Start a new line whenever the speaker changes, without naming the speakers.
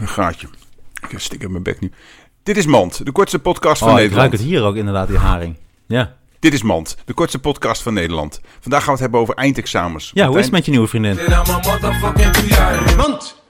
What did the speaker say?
een gaatje. Ik stik in mijn bek nu. Dit is Mand, de kortste podcast van
Oh, ik ruik
Nederland.
het hier ook inderdaad, die haring. Ja,
Dit is Mand, de kortste podcast van Nederland. Vandaag gaan we het hebben over eindexamens.
ja hoe
Martijn,
is het met je nieuwe vriendin?
Then I'm a motherfucking P.I.